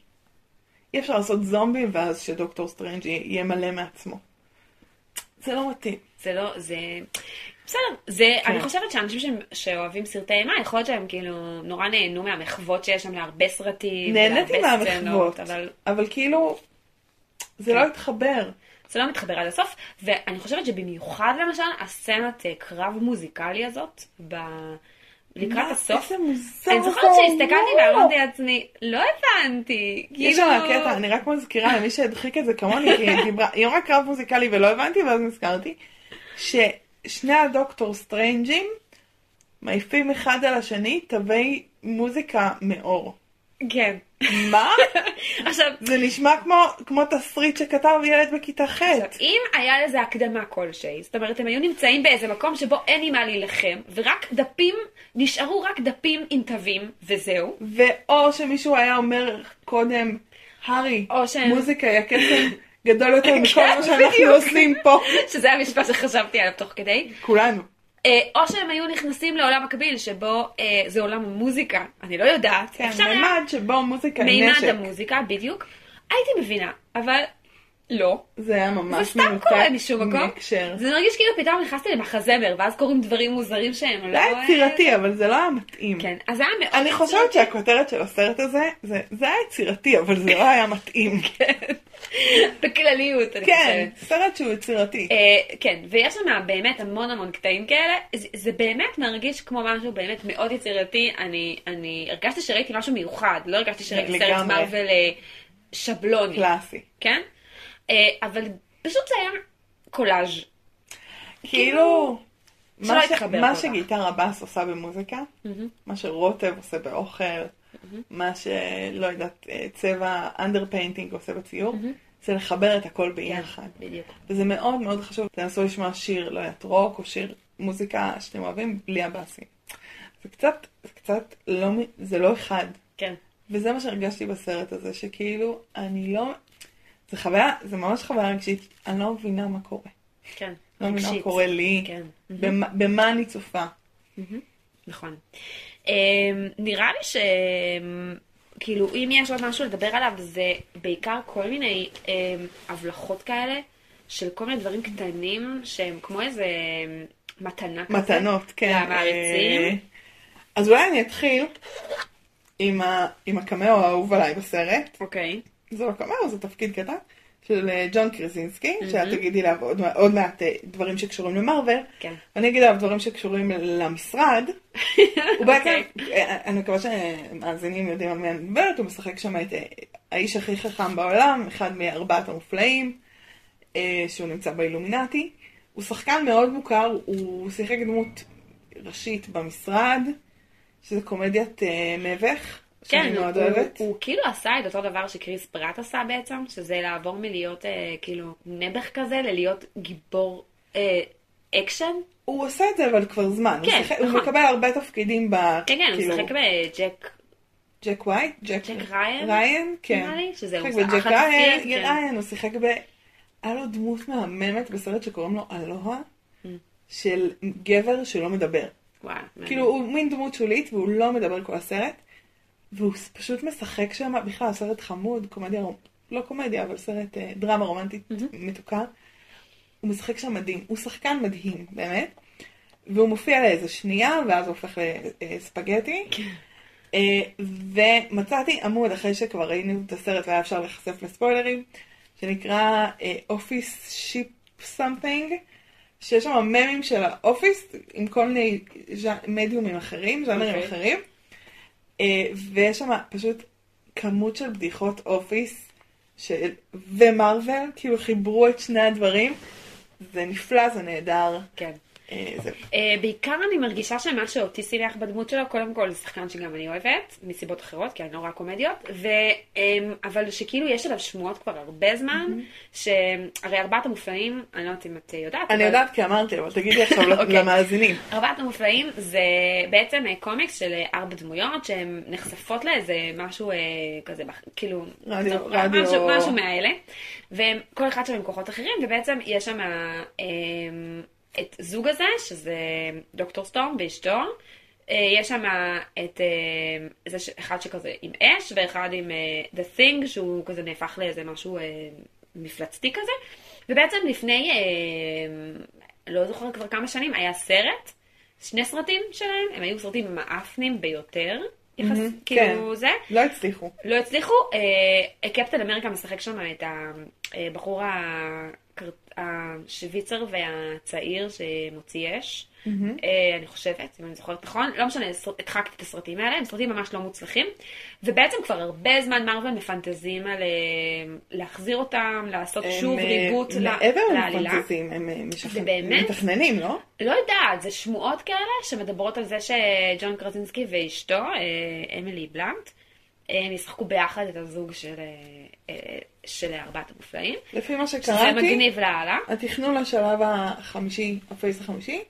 אי אפשר לעשות זומבים ואז שדוקטור סטרנג' יהיה- יהיה מלא מעצמו. זה לא מתאים. זה לא, זה... בסדר, זה, כן. אני חושבת שאנשים ש... שאוהבים סרטי אימה, יכול להיות שהם כאילו נורא נהנו מהמחוות שיש שם להרבה סרטים, נהניתי להרבה סצנות, מהמחוות, אבל אבל כאילו, זה כן. לא התחבר. זה לא מתחבר עד הסוף, ואני חושבת שבמיוחד למשל, הסצנת אה, קרב מוזיקלי הזאת, ב... לקראת מה, הסוף, איזה מוזר אני זוכרת זה שהסתכלתי לא. ואמרתי לעצמי, לא הבנתי, כאילו... יש שם קטע, אני רק מזכירה למי שהדחיק את זה כמוני, כי היא דיברה, היא אמרה קרב מוזיקלי ולא הבנתי, ואז נזכרתי, ששני הדוקטור סטרנג'ים מעיפים אחד על השני תווי מוזיקה מאור. כן. מה? עכשיו, זה נשמע כמו, כמו תסריט שכתב ילד בכיתה ח'. עכשיו, אם היה לזה הקדמה כלשהי, זאת אומרת, הם היו נמצאים באיזה מקום שבו אין עם מה להילחם, ורק דפים, נשארו רק דפים עם תווים, וזהו. ואו שמישהו היה אומר קודם, הארי, או ש- מוזיקה היא הקסם גדול יותר מכל כן, מה שאנחנו בדיוק. עושים פה. שזה המשפט שחשבתי עליו תוך כדי. כולנו. אה, או שהם היו נכנסים לעולם מקביל, שבו אה, זה עולם המוזיקה, אני לא יודעת. כן, אפשר היה- מימד שבו מוזיקה היא מימד נשק. המוזיקה, בדיוק. הייתי מבינה, אבל לא. זה היה ממש זה סתם קורה משום מקום. מהקשר. זה מרגיש כאילו פתאום נכנסתי למחזמר, ואז קורים דברים מוזרים שהם זה לא... היה יצירתי, אבל זה לא היה מתאים. כן, אוקיי. אז זה היה מאוד... אני חושבת שהכותרת של הסרט הזה, זה, זה היה יצירתי, אבל זה לא היה מתאים. בכלליות, כן, אני כן, חושבת. סרט שהוא יצירתי. אה, כן, ויש שם באמת המון המון קטעים כאלה, זה, זה באמת מרגיש כמו משהו באמת מאוד יצירתי, אני, אני הרגשתי שראיתי משהו מיוחד, לא הרגשתי שראיתי סרט לגמרי. מרוויל אה, שבלוני, קלאסי. כן? אה, אבל פשוט זה היה קולאז'. כאילו, שלא מה ש- התחבר מה כל כך. שגיטרה באס עושה במוזיקה, מה שרוטב עושה באוכל, מה שלא יודעת, אה, צבע אנדרפיינטינג עושה בציור, זה לחבר את הכל ביחד. כן, בדיוק. וזה מאוד מאוד חשוב, תנסו לשמוע שיר, לא יודעת, רוק או שיר מוזיקה שאתם אוהבים, בלי הבאסים. זה קצת, זה קצת לא, מ- זה לא אחד. כן. וזה מה שהרגשתי בסרט הזה, שכאילו, אני לא... זה חוויה, זה ממש חוויה רגשית, אני לא מבינה מה קורה. כן. לא מבינה מה רגשית. קורה לי, כן. במה- במה אני צופה. נכון. Um, נראה לי ש... כאילו, אם יש עוד משהו לדבר עליו, זה בעיקר כל מיני um, הבלחות כאלה, של כל מיני דברים קטנים, שהם כמו איזה אמ, מתנה כזה. מתנות, כן. למעריצים. אה, אז אולי אני אתחיל עם ה- עם הקמאו האהוב עליי בסרט. אוקיי. זה לא קמאו, זה תפקיד קטן. של אה, ג'ון קרזינסקי, שאת תגידי עליו עוד מע- עוד מעט אה, דברים שקשורים למרוויל. כן. אני אגיד עליו דברים שקשורים למשרד. הוא בעצם, אוקיי. אה, אני מקווה שמאזינים יודעים על מי אני מדברת, הוא משחק שם את אה, האיש הכי חכם בעולם, אחד מארבעת המופלאים, אה, שהוא נמצא באילומינטי. הוא שחקן מאוד מוכר, הוא שיחק דמות ראשית במשרד, שזה קומדיית אה, מביך, שאני כן, הוא, מאוד אוהבת. הוא, הוא כאילו עשה את אותו דבר שקריס פרט עשה בעצם, שזה לעבור מלהיות אה, כאילו נעבך כזה, ללהיות גיבור אה, אקשן. הוא עושה את זה אבל כבר זמן, הוא כן, שיחק- נכון. הוא מקבל הרבה תפקידים ב... כן, כן, כאילו, הוא משחק בג'ק ג'ק וייט? ג'ק ריין? ריין, כן. נראה לי, שזה שיחק הוא עשה בג'ק אחלה ריין, תפקיד, כן. ריין, הוא שיחק ב... היה לו דמות מהממת בסרט שקוראים לו אלוהה, Mm. של גבר שלא מדבר. וואי, כאילו, הוא מין דמות שולית והוא לא מדבר כל הסרט, והוא פשוט משחק שם, בכלל, סרט חמוד, קומדיה, רומ- לא קומדיה, אבל סרט אה, דרמה רומנטית Mm-hmm. מתוקה. הוא משחק שם מדהים, הוא שחקן מדהים, באמת. והוא מופיע לאיזה שנייה, ואז הוא הופך לספגטי. אה, ומצאתי עמוד אחרי שכבר ראינו את הסרט והיה אפשר להיחשף לספוילרים, שנקרא אה, אופיס שיפ סמפינג, שיש שם ממים של האופיס עם כל מיני ז'א- מדיומים אחרים, ז'אנרים אוקיי. אחרים, אה, ויש שם פשוט כמות של בדיחות אופיס של... ומרוויל, כאילו חיברו את שני הדברים, זה נפלא, זה נהדר. כן. אה, זהו. אה, בעיקר אני מרגישה שמה שאותי סילח בדמות שלו, קודם כל זה שחקן שגם אני אוהבת, מסיבות אחרות, כי אני לא רואה קומדיות, ו, אמ, אבל שכאילו יש עליו שמועות כבר הרבה זמן, שהרי ארבעת המופלאים, אני לא יודעת אם את אה, יודעת, אני אבל- יודעת כי אמרתי, אבל תגידי עכשיו אוקיי. למאזינים. ארבעת המופלאים זה בעצם אה, קומיקס של אה, ארבע דמויות שהן נחשפות לאיזה משהו אה, כזה, בח- כאילו, רדיו- משהו- רדיו- משהו, משהו מהאלה, וכל אחד שלהם עם כוחות אחרים, ובעצם יש שם אה, את זוג הזה, שזה דוקטור סטורם ואשתו, אה, יש שם את אה, זה ש- אחד שכזה עם אש, ואחד עם אה, The Thing, שהוא כזה נהפך לאיזה משהו אה, מפלצתי כזה, ובעצם לפני, אה, לא זוכרת כבר כמה שנים, היה סרט, שני סרטים שלהם, הם היו סרטים מאפנים ביותר, יחס, מהמם, כאילו זה. לא הצליחו. לא הצליחו, אה, קפטן אמריקה משחק שם את אה, הבחור הקר- השוויצר והצעיר שמוציא אש, אה, אני חושבת, אם אני זוכרת נכון, לא משנה, סר- הדחקתי את הסרטים האלה, הם סרטים ממש לא מוצלחים, ובעצם כבר הרבה זמן מרוויל מפנטזים על אה, להחזיר אותם, לעשות שוב הם, אה, ריבוט ל- מעבר לעלילה. למפנטזים, הם אה, משכ- זה באמת? מתכננים, לא? לא יודעת, זה שמועות כאלה שמדברות על זה שג'ון קרזינסקי ואשתו, אה, אמילי בלנט, הם ישחקו ביחד את הזוג של, אה, אה, של ארבעת המופלאים. לפי מה שזה שקראתי, מגניב לאללה. התכנון לשלב החמישי, הפייס החמישי,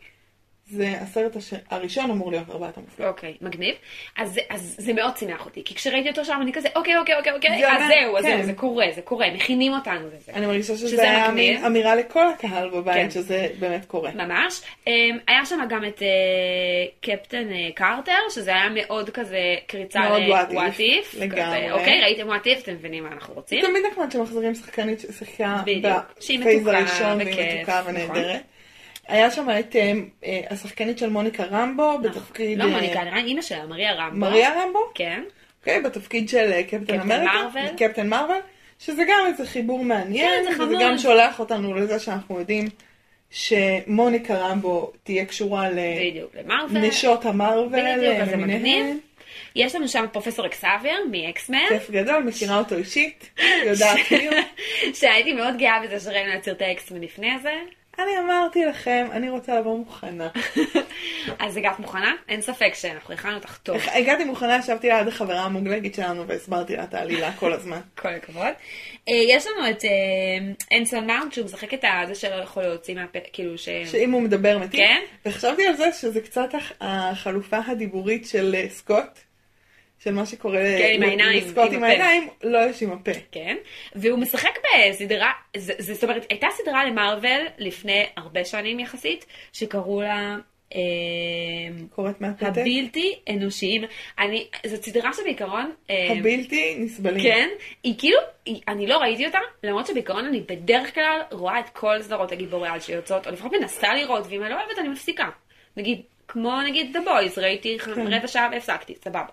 זה הסרט הש... הראשון אמור להיות ארבעת המופלאים. אוקיי, מגניב. אז, זה- אז זה מאוד שימח אותי, כי כשראיתי אותו שם אני כזה, אוקיי, אוקיי, אוקיי, אוקיי, זה אז אומר- זהו, אז כן. זהו, זה קורה, זה קורה, מכינים אותנו לזה. אני מרגישה שזה אוקיי. שזה היה מגניב. מין אמירה לכל הקהל בבית, כן. שזה באמת קורה. ממש. אמ, היה שם גם את אה, קפטן אה, קרטר, שזה היה מאוד כזה קריצה מאוד what if. ל-what if. לגמרי. כזה, אוקיי, ראיתם what if, אתם מבינים מה אנחנו רוצים. תמיד נחמד שמחזירים שחקנית ששיחקה בדיוק. שהיא בפייז מתוקה הראשון, וכיף, והיא מתוקה נכון. ונהדרת. היה שם את אה, אה, השחקנית של מוניקה רמבו, בתפקיד... לא אה, מוניקה, נראה אימא שלה, מריה רמבו. מריה רמבו? כן. אוקיי, בתפקיד של אה, קפטן קפטן אמריקה, מרוויל. קפטן מרוויל, שזה גם איזה חיבור מעניין, כן, זה וזה חמוד. גם שולח אותנו לזה שאנחנו יודעים שמוניקה רמבו תהיה קשורה בדיוק, למרוויל. לנשות המרוויל, בדיוק, אז זה למיניהן. מגניב. יש לנו שם את פרופסור אקסאבייר מאקסמן, כיף גדול, מכירה אותו אישית, יודעת מי הוא. שהייתי מאוד גאה בזה שראינו את סרטי אקסמן לפני זה. אני אמרתי לכם, אני רוצה לבוא מוכנה. אז הגעת מוכנה? אין ספק שאנחנו הכנו אותך טוב. הגעתי מוכנה, ישבתי ליד החברה המוגלגת שלנו והסברתי לה את העלילה כל הזמן. כל הכבוד. אה, יש לנו את אה, אנסון מאונט, שהוא משחק את הזה שלא יכול להוציא מהפה, כאילו ש... שאם הוא מדבר מתאים. כן? וחשבתי על זה שזה קצת הח- החלופה הדיבורית של אה, סקוט, של מה שקורה כן, עם ל- העיניים, לסקוט עם עם הפה. העיניים, לא יש עם הפה. כן. והוא משחק בסדרה, זה- זה- זאת אומרת, הייתה סדרה למרוויל לפני הרבה שנים יחסית, שקראו לה... אה, קוראת מהפתק. הבלתי אנושיים. אני, זאת סדרה שבעיקרון, אה, הבלתי נסבלים. כן, היא כאילו, היא, אני לא ראיתי אותה, למרות שבעיקרון אני בדרך כלל רואה את כל סדרות הגיבורי על שיוצאות, או לפחות מנסה לראות, ואם אני לא אוהבת אני מפסיקה. נגיד, כמו נגיד The Boys, ראיתי כן. כן. רבע שעה והפסקתי, סבבה.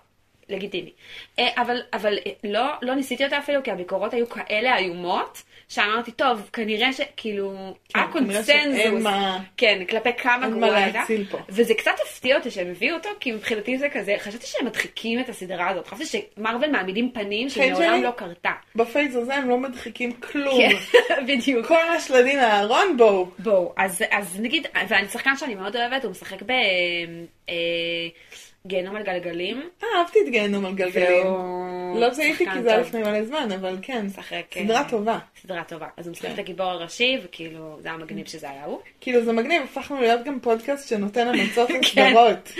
לגיטימי. אה, אבל, אבל אה, לא, לא ניסיתי אותה אפילו, כי הביקורות היו כאלה איומות, שאמרתי, טוב, כנראה שכאילו, כן, היה כנראה קונצנזוס, שאין מה- כן, כלפי כמה אין מה גרועה הייתה, להציל פה. וזה קצת הפתיע אותי שהם הביאו אותו, כי מבחינתי זה כזה, חשבתי שהם מדחיקים את הסדרה הזאת, חשבתי שמרוויל מעמידים פנים שלי. שמעולם לא קרתה. בפייס הזה הם לא מדחיקים כלום. כן, בדיוק. כל השלדים מהארון בואו. בואו, אז, אז נגיד, ואני שחקן שאני מאוד אוהבת, הוא משחק בגיהנום על גלגלים. אה, אהבתי את גיהנום על גלגלים. והוא לא זיהיתי שחקן כי זה היה טוב. לפני מלא זמן, אבל כן, משחק, אה, סדרה טובה. סדרה טובה. אז הוא משחק כן. את הגיבור הראשי, וכאילו, זה היה מגניב שזה היה הוא. כאילו זה מגניב, הפכנו להיות גם פודקאסט שנותן המלצות לסדרות.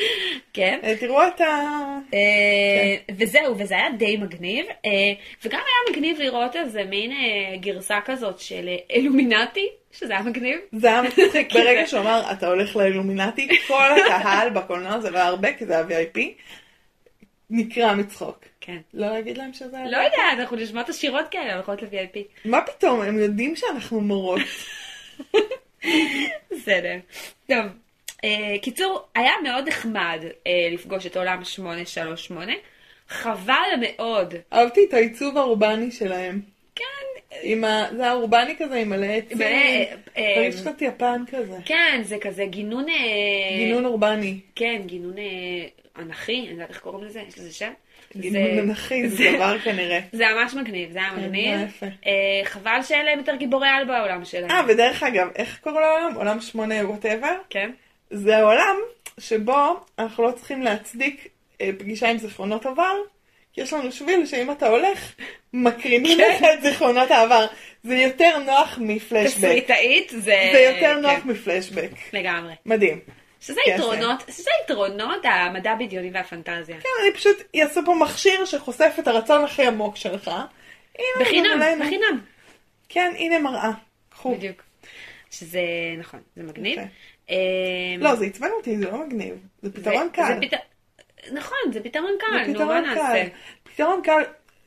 כן. אה, תראו את ה... אה, וזהו, וזה היה די מגניב, אה, וגם היה מגניב לראות איזה מין אה, גרסה כזאת של אה, אלומינטי, שזה היה מגניב. זה היה מצחיק, כי ברגע זה- שהוא אמר, אתה הולך לאילומינטי, כל הקהל בקולנוע, זה לא היה הרבה, כי זה היה VIP, נקרע מצחוק. כן. לא להגיד להם שזה היה... לא יודעת, אנחנו נשמע את השירות כאלה, הולכות ל-VIP. מה פתאום, הם יודעים שאנחנו מורות. בסדר. טוב. אה, קיצור, היה מאוד נחמד אה, לפגוש את עולם 838. חבל מאוד. אהבתי את העיצוב האורבני שלהם. כן, עם ה... זה האורבני כזה, עם מלא עצים. לא, מלא, אה, אה, מרגיש קצת יפן כזה. כן, זה כזה גינון... אה, גינון אורבני. כן, גינון אה, אנכי, אני לא יודעת איך קוראים לזה, יש לזה שם? גינון אנכי, זה דבר כנראה. זה היה ממש מגניב, זה היה כן, מגניב. זה היה יפה. אה, חבל שאין להם יותר גיבורי על בעולם שלהם. אה, ודרך אגב, איך קוראים לו העולם? עולם שמונה וואטאבר? כן. זה העולם שבו אנחנו לא צריכים להצדיק אה, פגישה עם זיכרונות עבר, כי יש לנו שביל שאם אתה הולך, מקרינים כן. לך את זיכרונות העבר. זה יותר נוח מפלשבק. תסריטאית זה... זה יותר נוח כן, מפלשבק. לגמרי. מדהים. שזה כן, יתרונות, שזה יתרונות המדע הבדיוני והפנטזיה. כן, אני פשוט אעשה פה מכשיר שחושף את הרצון הכי עמוק שלך. הנה, בחינם, גם עלינו. בחינם. כן, הנה מראה. קחו. בדיוק. שזה נכון, זה מגניב. יפה. אמ, לא, זה עצבן אותי, זה לא מגניב. זה זה- פתרון זה קל. פת- נכון, זה פתרון זה קל, נו מה פתרון קל. נעשה? פתרון קל,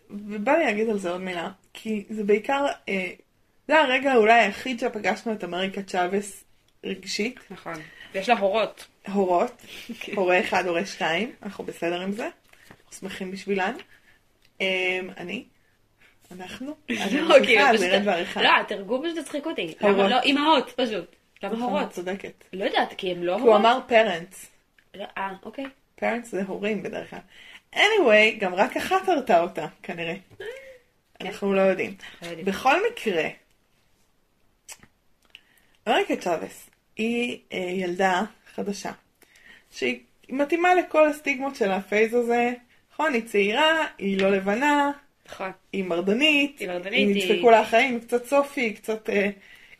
ובא לי להגיד על זה עוד מילה, כי זה בעיקר, אה, זה הרגע אולי היחיד שפגשנו את אמריקה צ'אבס רגשית, נכון. ויש לה הורות. הורות, אוקיי. הורה אחד, הורה שתיים, אנחנו בסדר עם זה, אנחנו שמחים בשבילן. אה, אני? אנחנו? אני לא, כאילו, ממשיכה, פשוט- זה ירד בעריכה. לא, התרגום פשוט הצחיק אותי. הורות. למה לא? אימהות, פשוט. למה נכון, את הורות? צודקת. לא יודעת, כי הם לא כי הוא הורות. אמר parents, לא, אה, אוקיי. parents זה הורים בדרך כלל. anyway, גם רק אחת הרתה אותה, כנראה. כן. אנחנו לא יודעים. לא יודעים. בכל מקרה, אמריקה צ'אבס היא אה, ילדה חדשה, שהיא מתאימה לכל הסטיגמות של הפייז הזה. נכון, היא צעירה, היא לא לבנה, נכון. היא מרדנית, היא מרדנית, היא היא- נדפקו לה החיים, היא קצת סופי, היא קצת, אה,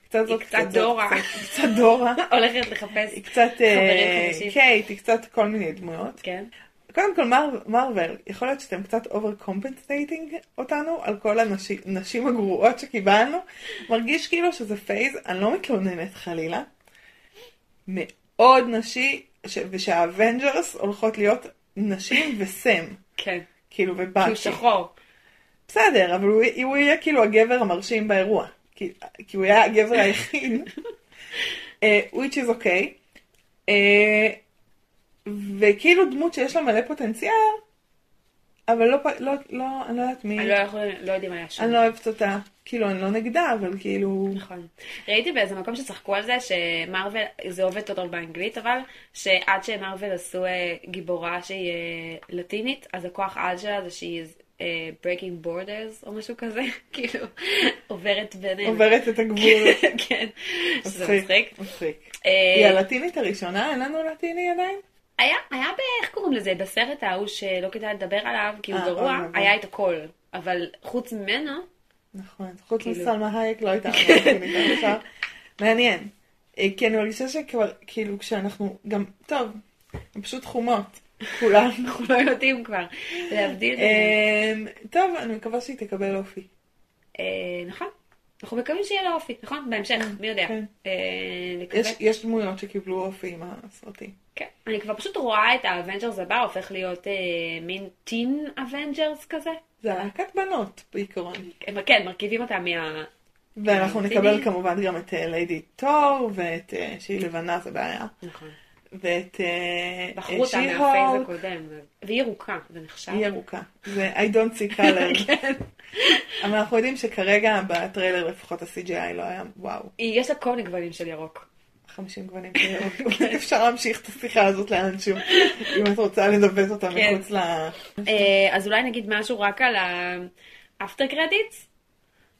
קצת היא זאת, קצת דורה. קצת- קצת דורה. הולכת לחפש. היא קצת אה, חדשים. קייט, היא קצת כל מיני דמויות. כן. קודם כל, מר- מארוול, יכול להיות שאתם קצת אובר קומפנסטייטינג אותנו על כל הנשים נשים הגרועות שקיבלנו. מרגיש כאילו שזה פייז, אני לא מתלוננת חלילה. מאוד נשי, ש... ושהאבנג'רס הולכות להיות נשים וסם. כן. כאילו, כי הוא ובאקי. שחור. בסדר, אבל הוא, הוא יהיה כאילו הגבר המרשים באירוע. כי, כי הוא היה הגבר היחיד. אה, which is okay. אה, וכאילו דמות שיש לה מלא פוטנציאל, אבל לא, פ- לא, לא, אני לא יודעת מי, אני לא יכולה, לא יודעים מה היה שם. אני לא אוהבת אותה. כאילו, אני לא נגדה, אבל כאילו... נכון. ראיתי באיזה מקום שצחקו על זה שמרוויל, זה עובד טוב טוב באנגלית, אבל שעד שמרוויל עשו אה, גיבורה שהיא אה, לטינית, אז הכוח על שלה זה שהיא אה, breaking borders או משהו כזה, כאילו עוברת ביניהם. עוברת את הגבול. כן, שזה מצחיק. מצחיק. אה, היא הלטינית הראשונה? אין לנו לטיני עדיין? היה, היה ב... איך קוראים לזה? בסרט ההוא שלא כדאי לדבר עליו, כי הוא אה, גרוע, אוי ואבוי. היה את הכל. אבל חוץ ממנו, נכון, חוץ כאילו. מסלמה הייק לא הייתה הרבה תוכנית עד עכשיו. מעניין. אה, כי אני מרגישה שכבר, כאילו, כשאנחנו גם, טוב, הן פשוט חומות, כולן. אנחנו לא יודעים כבר להבדיל ביניהם. אמ, טוב, אני מקווה שהיא תקבל אופי. אה, נכון. אנחנו מקווים שיהיה לו אופי, נכון? בהמשך, מי יודע. כן. אה, נקווה. יש- יש דמויות שקיבלו אופי עם הסרטים. כן. אני כבר פשוט רואה את האבנג'רס הבא הופך להיות אה, מין טין אבנג'רס כזה. זה להקת בנות, בעיקרון. הם- כן, מרכיבים אותה מה... ואנחנו טיני. נקבל כמובן גם את אה, ליידי טור, ואת אה, שהיא לבנה, זה בעיה. נכון. ואת אה, בחרו אותה She-Hulk. מהפייס הקודם. והיא ירוקה, כן. זה נחשב. היא ירוקה. זה I don't see color. אבל אנחנו יודעים שכרגע בטריילר לפחות ה-CGI לא היה וואו, היא- יש לה כל מיני גוונים של ירוק. 50 גוונים כאלה. אפשר להמשיך את השיחה הזאת לאנשהו, אם את רוצה לנווט אותה כן. מחוץ ל... אה, אז אולי נגיד משהו רק על האפטר קרדיטס,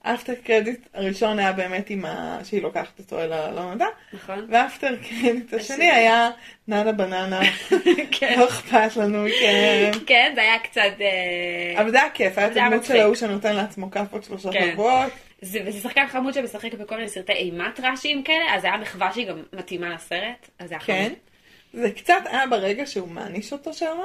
האפטר קרדיט הראשון היה באמת עם ה... שהיא לוקחת אותו אל הלא נודע, נכון? והאפטר קרדיט השני השני. היה נאנה בננה, כן. לא אכפת לנו, כן. כן, זה היה קצת... אה, אבל זה היה כיף, היה את זה היה הדמות של מצחיק. ההוא שנותן לעצמו כאפות שלושה כן. שבועות. זה וזה שחקן חמוד שמשחק בכל מיני סרטי אימה טראשיים כאלה, אז זה היה מחווה שהיא גם מתאימה לסרט, אז זה היה כן. חמוד. זה קצת היה ברגע שהוא מעניש אותו שם,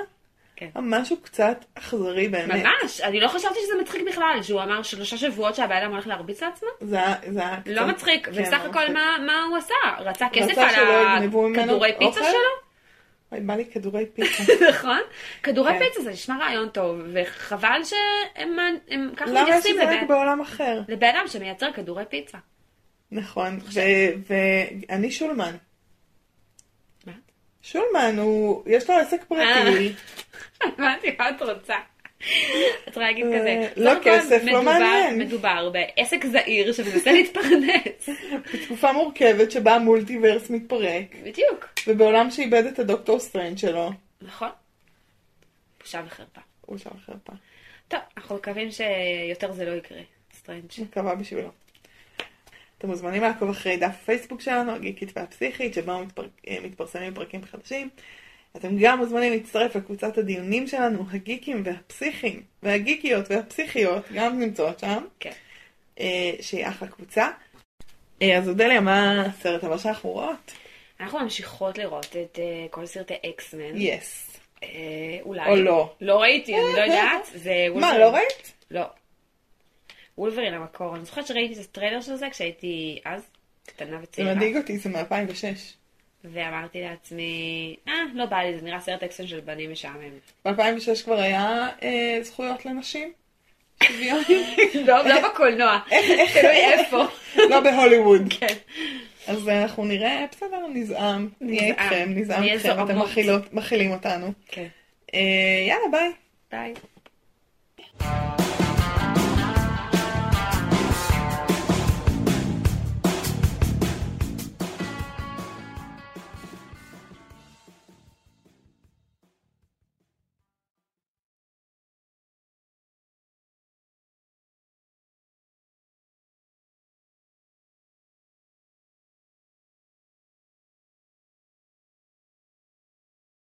כן. משהו קצת אכזרי באמת. ממש, אני לא חשבתי שזה מצחיק בכלל, שהוא אמר שלושה שבועות שהבן אדם הולך להרביץ לעצמו? זה היה זה היה קצת... לא מצחיק, כן, ובסך הכל לא מצחיק. מה- מה הוא עשה? רצה כסף רצה על שלא יגנבו ממנו הכדורי פיצה אוכל? שלו? וואי, בא לי כדורי פיצה. נכון? כדורי כן. פיצה זה נשמע רעיון טוב, וחבל שהם הם ככה למה יש מתייחסים את זה רק לבן- בעולם אחר? לבן אדם שמייצר כדורי פיצה. נכון, ו- ואני שולמן. מה? אה. שולמן הוא, יש לו עסק פרטי, הבנתי מה את רוצה. את צריכה להגיד אה, כזה. לא בסך הכל כסף, לא מדובר- מעניין. מדובר בעסק זעיר שמנסה להתפרנס. בתקופה מורכבת שבה המולטיברס מתפרק, בדיוק. ובעולם שאיבד את הדוקטור סטרנד שלו, נכון. בושה וחרפה. הוא שם חרפה. טוב, אנחנו מקווים שיותר זה לא יקרה. סטרנג'. מקווה בשבילו. אתם מוזמנים לעקוב אחרי דף הפייסבוק שלנו, הגיקית והפסיכית, שבו מתפר... אה, מתפרסמים פרקים חדשים. אתם גם מוזמנים להצטרף לקבוצת הדיונים שלנו, הגיקים והפסיכים, והגיקיות והפסיכיות, גם נמצאות שם. כן. אה, שהיא אחלה קבוצה. אה, אז אודליה, מה הסרט הבא שאנחנו רואות? אנחנו ממשיכות לראות את אה, כל סרטי אקסמן. יס. אה, אולי. או לא. לא ראיתי, אני לא יודעת. זה מה, וולברין. לא ראית? לא. וולברין המקור. אני זוכרת שראיתי את הטריילר של זה כשהייתי אז קטנה זה וצעירה. מדאיג אותי, זה מ-2006. ואמרתי לעצמי, אה, לא בא לי, זה נראה סרט אקסטון של בנים משעמם. ב-2006 כבר היה אה, זכויות לנשים? שוויון? לא, לא בקולנוע, תלוי איפה. לא בהוליווד. כן. אז אנחנו נראה, בסדר, נזעם. נהיה נזעם. איתכם, נזעם נהיה איתכם, אתם זועמות. מכילות- מכילים אותנו. כן. אה, יאללה, ביי. ביי.